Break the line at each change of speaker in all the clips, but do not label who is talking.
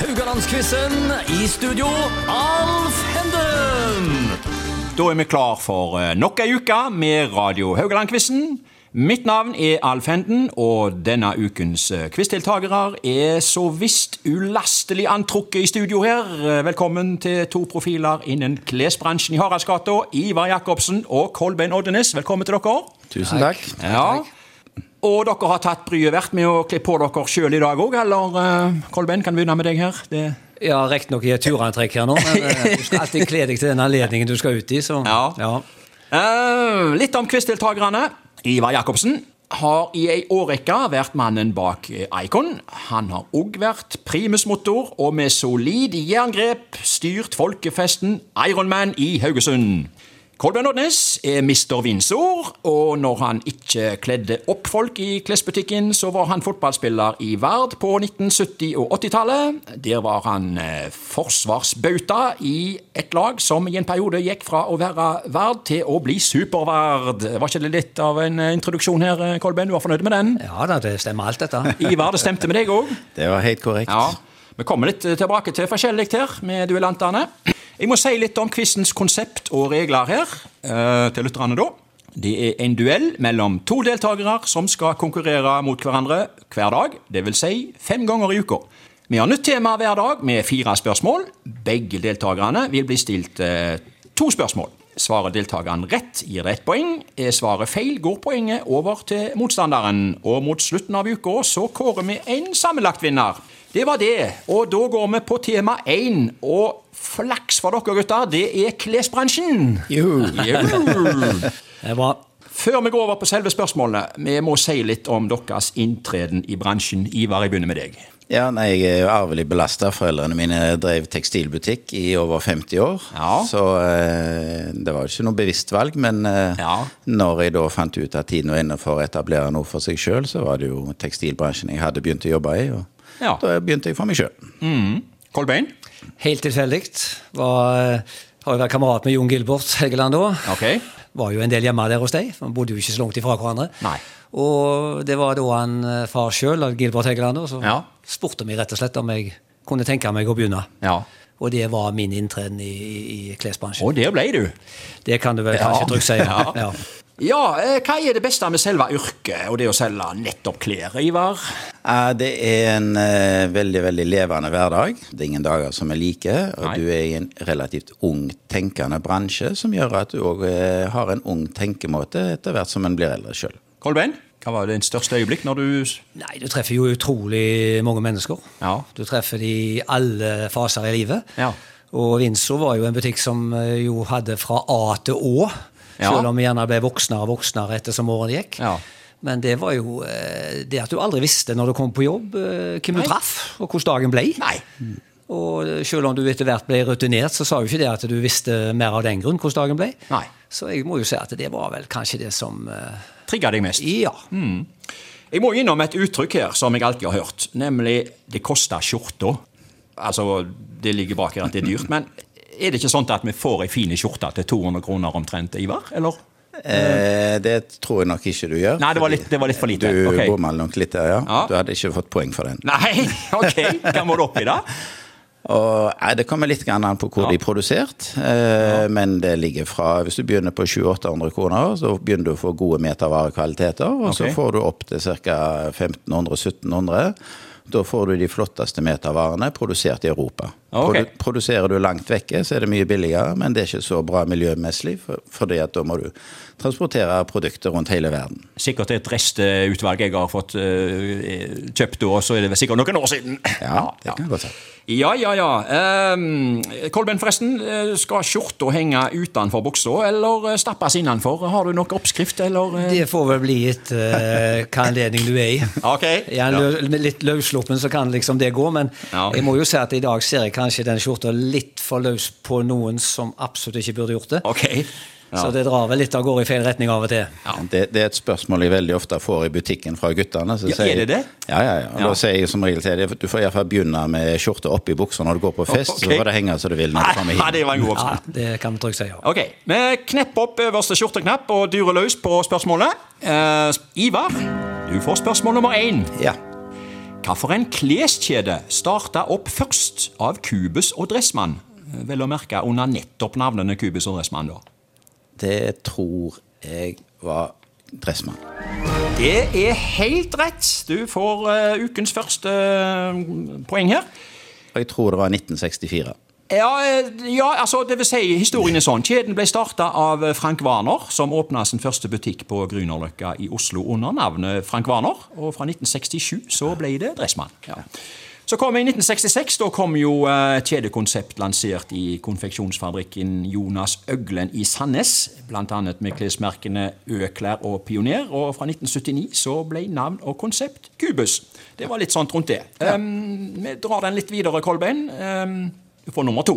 Rogalandsquizen. I studio, Alf Henden.
Da er vi klar for eh, nok ei uke med Radio Haugaland-quizen. Mitt navn er Alf Henden, og denne ukens eh, quizdeltakere er så visst ulastelig antrukket i studio her. Eh, Velkommen til to profiler innen klesbransjen i Haraldsgata, Ivar Jacobsen og Kolbein Oddenes. Velkommen til dere.
Tusen takk.
Ja. Og dere har tatt bryet vært med å kle på dere sjøl i dag òg, eller eh, Kolbein, kan vi begynne med deg her? Det
Ja, riktignok i et turantrekk her nå, men eh, du skal alltid kle deg til den anledningen du skal ut i, så
Ja. Eh, litt om quizdeltakerne. Ivar Jacobsen har i ei årrekke vært mannen bak eh, Icon. Han har òg vært primusmotor og med solid jerngrep styrt folkefesten Ironman i Haugesund. Kolbjørn Odnes er mister Windsor, og når han ikke kledde opp folk i klesbutikken, så var han fotballspiller i Vard på 1970- og 80-tallet. Der var han eh, forsvarsbauta i et lag som i en periode gikk fra å være verd til å bli superverd. Var ikke det litt av en eh, introduksjon her, eh, Kolben? Du var fornøyd med den?
Ja da, det stemmer alt dette.
Ivar, det stemte med deg òg.
Det var helt korrekt.
Ja, Vi kommer litt eh, tilbake til forskjellig her med duellantene. Jeg må si litt om quizens konsept og regler her, eh, til lytterne da. Det er en duell mellom to deltakere som skal konkurrere mot hverandre hver dag, dvs. Si fem ganger i uka. Vi har nytt tema hver dag med fire spørsmål. Begge deltakerne vil bli stilt eh, to spørsmål. Svarer deltakeren rett, gir det ett poeng. Er svaret feil, går poenget over til motstanderen. Og mot slutten av uka så kårer vi en sammenlagt vinner. Det var det, og da går vi på tema én. Og flaks for dere, gutter, det er klesbransjen. Juhu.
Det er bra.
Før vi går over på selve spørsmålene, vi må si litt om deres inntreden i bransjen. Ivar, jeg begynner med deg.
Ja, nei, Jeg er jo arvelig belasta. Foreldrene mine drev tekstilbutikk i over 50 år.
Ja.
Så eh, det var jo ikke noe bevisst valg. Men eh,
Ja.
når jeg da fant ut at tiden var inne for å etablere noe for seg sjøl, så var det jo tekstilbransjen jeg hadde begynt å jobbe i. Og
Ja.
da begynte jeg for meg sjøl.
Mm. Kolbein?
Helt tilfeldig. Var, eh, Har jo vært kamerat med Jon Gilbert Helgeland da.
Ok.
Var jo en del hjemme der hos deg. for Vi bodde jo ikke så langt ifra hverandre.
Nei.
Og det var da han eh, far sjøl, Gilbert Helgeland, da, så
Ja.
spurte meg rett og slett om jeg kunne tenke meg å begynne.
Ja.
Og det var min inntreden i, i, i klesbransjen.
Og der ble du.
Det kan du vel kanskje trygt si.
Ja.
Ja.
Ja, eh, hva er det beste med selve yrket og det å selge nettopp klær, Ivar?
Ja, det er en eh, veldig veldig levende hverdag. Det er ingen dager som er like. Og
Nei.
du er i en relativt ung tenkende bransje, som gjør at du òg har en ung tenkemåte etter hvert som en blir eldre sjøl.
Kolbein? Hva var det største øyeblikk når du
Nei, du treffer jo utrolig mange mennesker.
Ja.
Du treffer de i alle faser i livet.
Ja.
Og Windsor var jo en butikk som eh, jo hadde fra A til Å.
Ja.
Selv om vi gjerne ble voksnere og voksnere etter som årene gikk.
Ja.
Men det var jo eh, det at du aldri visste når du kom på jobb, eh, hvem
Nei.
du traff, og hvordan dagen ble.
Nei.
Og eh, selv om du etter hvert ble rutinert, så sa jo ikke det at du visste mer av den grunn hvordan dagen ble.
Nei.
Så jeg må jo si at det var vel kanskje det som eh,
trigga deg mest?
Ja.
Mm. Jeg må innom et uttrykk her som jeg alltid har hørt, nemlig 'det koster skjorta'. Altså, det ligger bak her at det er dyrt, men er det ikke sånn at vi får ei fin skjorte til 200 kroner omtrent, Ivar? Eller?
Eh, det tror jeg nok ikke du gjør.
Nei, det var
fordi
litt, det var litt for lite.
Du
Ok.
bomma nok litt der, ja.
Ja.
Du hadde ikke fått poeng for den.
Nei, ok, hva må du opp i da?
Og, nei, det kommer litt grann an på hvor
Ja.
de er produsert, eh, men det ligger fra Hvis du begynner på 700-800 kroner, så begynner du å få gode metervarekvaliteter, og
Ok.
så får du opp til ca. 1500-1700. Da får du de flotteste metervarene produsert i Europa.
Ok.
Produ- Produserer du langt vekke, så er det mye billigere, men det er ikke så bra miljømessig, for, fordi at da må du transportere produkter rundt hele verden.
Sikkert et restutvalg jeg har fått eh, kjøpt, og så er det vel sikkert noen år siden.
Ja, det kan jeg godt si.
Ja, ja, ja. Ehm, Kolben, forresten. eh, Skal skjorta henge utenfor buksa, eller eh, stappes innenfor? Har du noen oppskrift, eller? eh?
Det får vel bli et eh, hva anledning du er i.
Ok.
Jeg er lø med litt løssluppen, så kan liksom det gå, men
Ja.
jeg må jo si at i dag ser jeg kanskje den skjorta litt for løs på noen som absolutt ikke burde gjort det.
Ok.
Så det drar vel litt av gårde i feil retning av og til.
Det, det er et spørsmål jeg veldig ofte får i butikken fra guttene. så
Ja,
sier jeg-
er det det?
Ja, ja, ja. Og
Ja.
Da sier jeg som regel til dem du får iallfall begynne med skjorte oppi buksa når du går på fest,
Ok.
så får det henge som du vil når du kommer
Nei,
hit.
det var en god
Ja,
oppskrift.
det kan vi trygt si. Ja.
Ok, Vi knepper opp øverste skjorteknapp og durer løs på spørsmålet. Eh, Ivar, du får spørsmål nummer én.
Ja.
Hva for en kleskjede starta opp først av Cubus og Dressmann? Eh, Vel å merke under nettopp navnene Cubus og Dressmann, da.
Det tror jeg var Dressmann.
Det er helt rett. Du får eh, ukens første eh, poeng her.
Og jeg tror det var 1964.
Ja, eh, ja, altså, det vil si, historien er sånn. Kjeden ble starta av eh, Frank Warner, som åpna sin første butikk på Grünerløkka i Oslo under navnet Frank Warner. Og fra 1967 så ble det Dressmann. Ja. Så kom vi i 1966. Da kom jo eh, et kjedekonsept lansert i konfeksjonsfabrikken Jonas Øglen i Sandnes. Blant annet med klesmerkene Øklær og Pioner. Og fra 1979 så ble navn og konsept Cubus. Det var litt sånt rundt det. Um, vi drar den litt videre, Kolbein. Um, du får nummer to.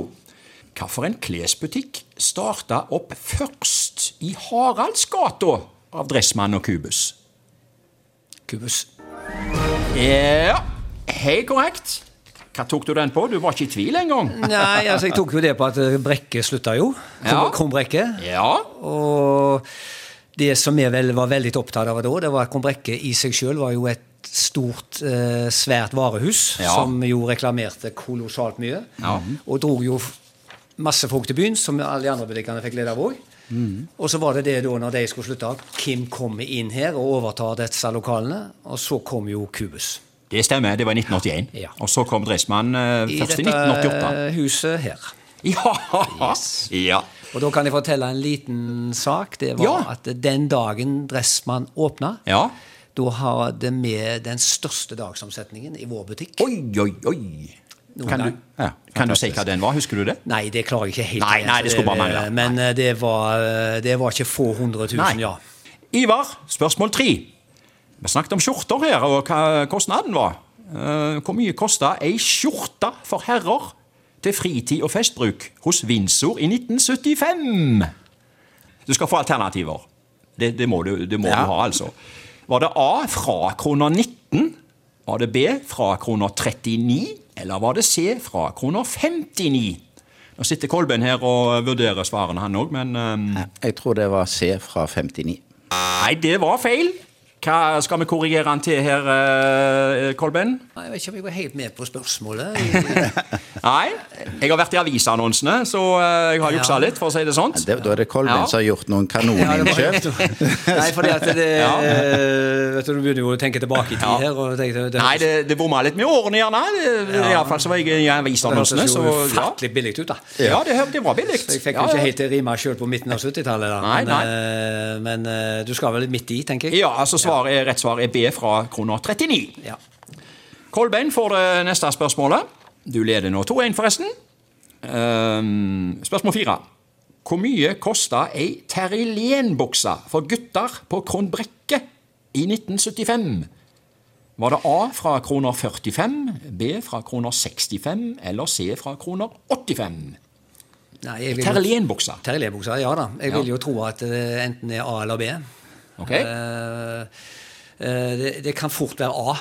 Hvilken klesbutikk starta opp først i Haraldsgata av Dressmann og Cubus?
Kubus.
Ja, helt korrekt. Hva tok du den på? Du var ikke i tvil engang.
Nei, altså jeg tok jo det på at eh, Brekke slutta jo.
Ja.
Kron- Kronbrekke.
Ja,
Og det som jeg vel var veldig opptatt av da, det var at Kronbrekke i seg sjøl var jo et stort, eh, svært varehus
Ja.
som jo reklamerte kolossalt mye.
Ja.
Og dro jo f- masse folk til byen, som alle de andre butikkene fikk glede av òg.
Mm.
Og så var det det da, når de skulle slutte, at hvem kommer inn her og overtar disse lokalene? Og så kom jo Kubus.
det stemmer. Det var i 1981.
Ja.
Og så kom Dressmann eh,
I
først i
dette
1988.
huset her.
Ja, ja.
Og da kan jeg fortelle en liten sak. Det var
Ja.
at den dagen Dressmann åpna,
ja.
da hadde vi den største dagsomsetningen i vår butikk.
Oi, oi, oi.
Noen
Kan du,
gang.
Ja,
kan du si hva den var? Husker du det?
Nei, det klarer jeg ikke helt.
Nei,
igjen,
nei,
så
det skulle bare mangle.
Men eh, det var, det var ikke få hundre tusen, ja.
Ivar, spørsmål tre. Vi snakket om skjorter her, og hva kostnaden var. Eh, Hvor mye kosta ei skjorte for herrer til fritid og festbruk hos Windsor i 1975? Du skal få alternativer. Det, det må, du, det må
Ja.
du ha, altså. Var det A fra kroner 19? Var det B fra kroner 39? Eller var det C fra kroner 59? Nå sitter Kolben her og vurderer svarene, han òg, men eh,
Jeg tror det var C fra 59.
Nei, det var feil. Hva skal vi korrigere han til her, eh, Kolben?
Nei, Jeg vet ikke om jeg var helt med på spørsmålet.
Nei, jeg har vært i avisannonsene, så eh, jeg har juksa
Ja.
litt, for å si det sånn.
Det, da er det Kolben
Ja.
som har gjort noen
Ja, det var
kanoninnkjøp.
Nei, fordi at det eh, Vet du, du begynner jo å tenke tilbake i tid her. og tenke, det,
Nei, det, det bomma litt med årene, gjerne. Ja.
Ja.
Iallfall så var jeg i
det
avisannonsene,
hørtes
så
jo
ja.
ufattelig billig ut, da.
ja det, hø- det var billig.
Så jeg fikk
ja,
jo ikke
ja.
helt det rima sjøl på midten av 70-tallet. da.
Nei,
Men, eh, men eh, du skal vel midt i, tenker jeg.
Ja, altså svaret er, rett svar er B fra kroner 39.
Ja.
Kolbein får det neste spørsmålet. Du leder nå 2-1, forresten. Ehm, spørsmål fire. Hvor mye kosta ei Terrilén-bukse for gutter på Kronbrekke i 1975? Var det A fra kroner 45, B fra kroner 65 eller C fra kroner 85?
Nei, jeg vil jo-
Terrilén-bukse.
Terrelé-buksa, ja da. Jeg
Ja.
vil jo tro at det enten er A eller B.
Ok?
Eh, eh, det, det kan fort være A.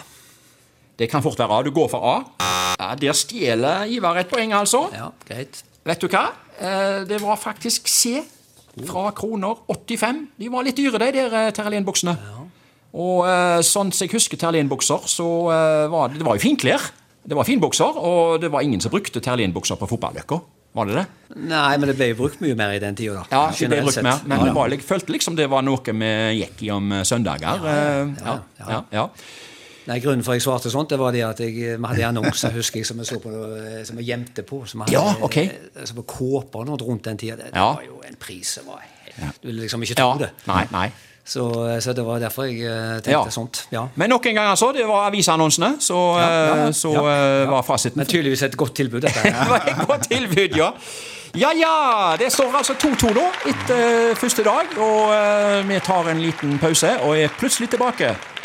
Det kan fort være A. Du går for A. Ja, der stjeler Ivar et poeng, altså.
Ja, greit.
Vet du hva? Eh, Det var faktisk C fra kroner 85. De var litt dyre, de der terrelinbuksene. Og eh, sånn som jeg husker terrelinbukser, så eh, var det, det var jo finklær. Det var finbukser, og det var ingen som brukte terrelinbukser på fotballøkka. Var det det?
Nei, men det ble jo brukt mye mer i den tida, da.
Ja, ikke det
generelt
brukt
sett.
mer, men
Ja,
det
ja.
var, jeg følte liksom det var noe vi gikk i om eh, søndager. eh, Ja,
ja,
ja,
ja.
ja.
Nei, Grunnen for at jeg svarte sånt, det var det at jeg vi hadde en annonse husker jeg, som jeg så på, eh, som jeg gjemte på. Som hadde,
Ja, ok.
eh, som var kåper og noe rundt den tida. Det, det
Ja.
var jo en pris som var helt Du ville liksom ikke tro
ja.
det.
Nei, nei.
Så, så det var derfor jeg eh, tenkte
Ja.
sånt. Ja.
Men nok en gang, altså. Det var avisannonsene, så,
ja, ja,
eh, så
ja,
eh, var fasiten
Men tydeligvis et godt tilbud, dette. her.
Det var et godt tilbud, ja. Ja ja, det står altså 2-2 eh, nå etter første dag. Og eh, vi tar en liten pause og er plutselig tilbake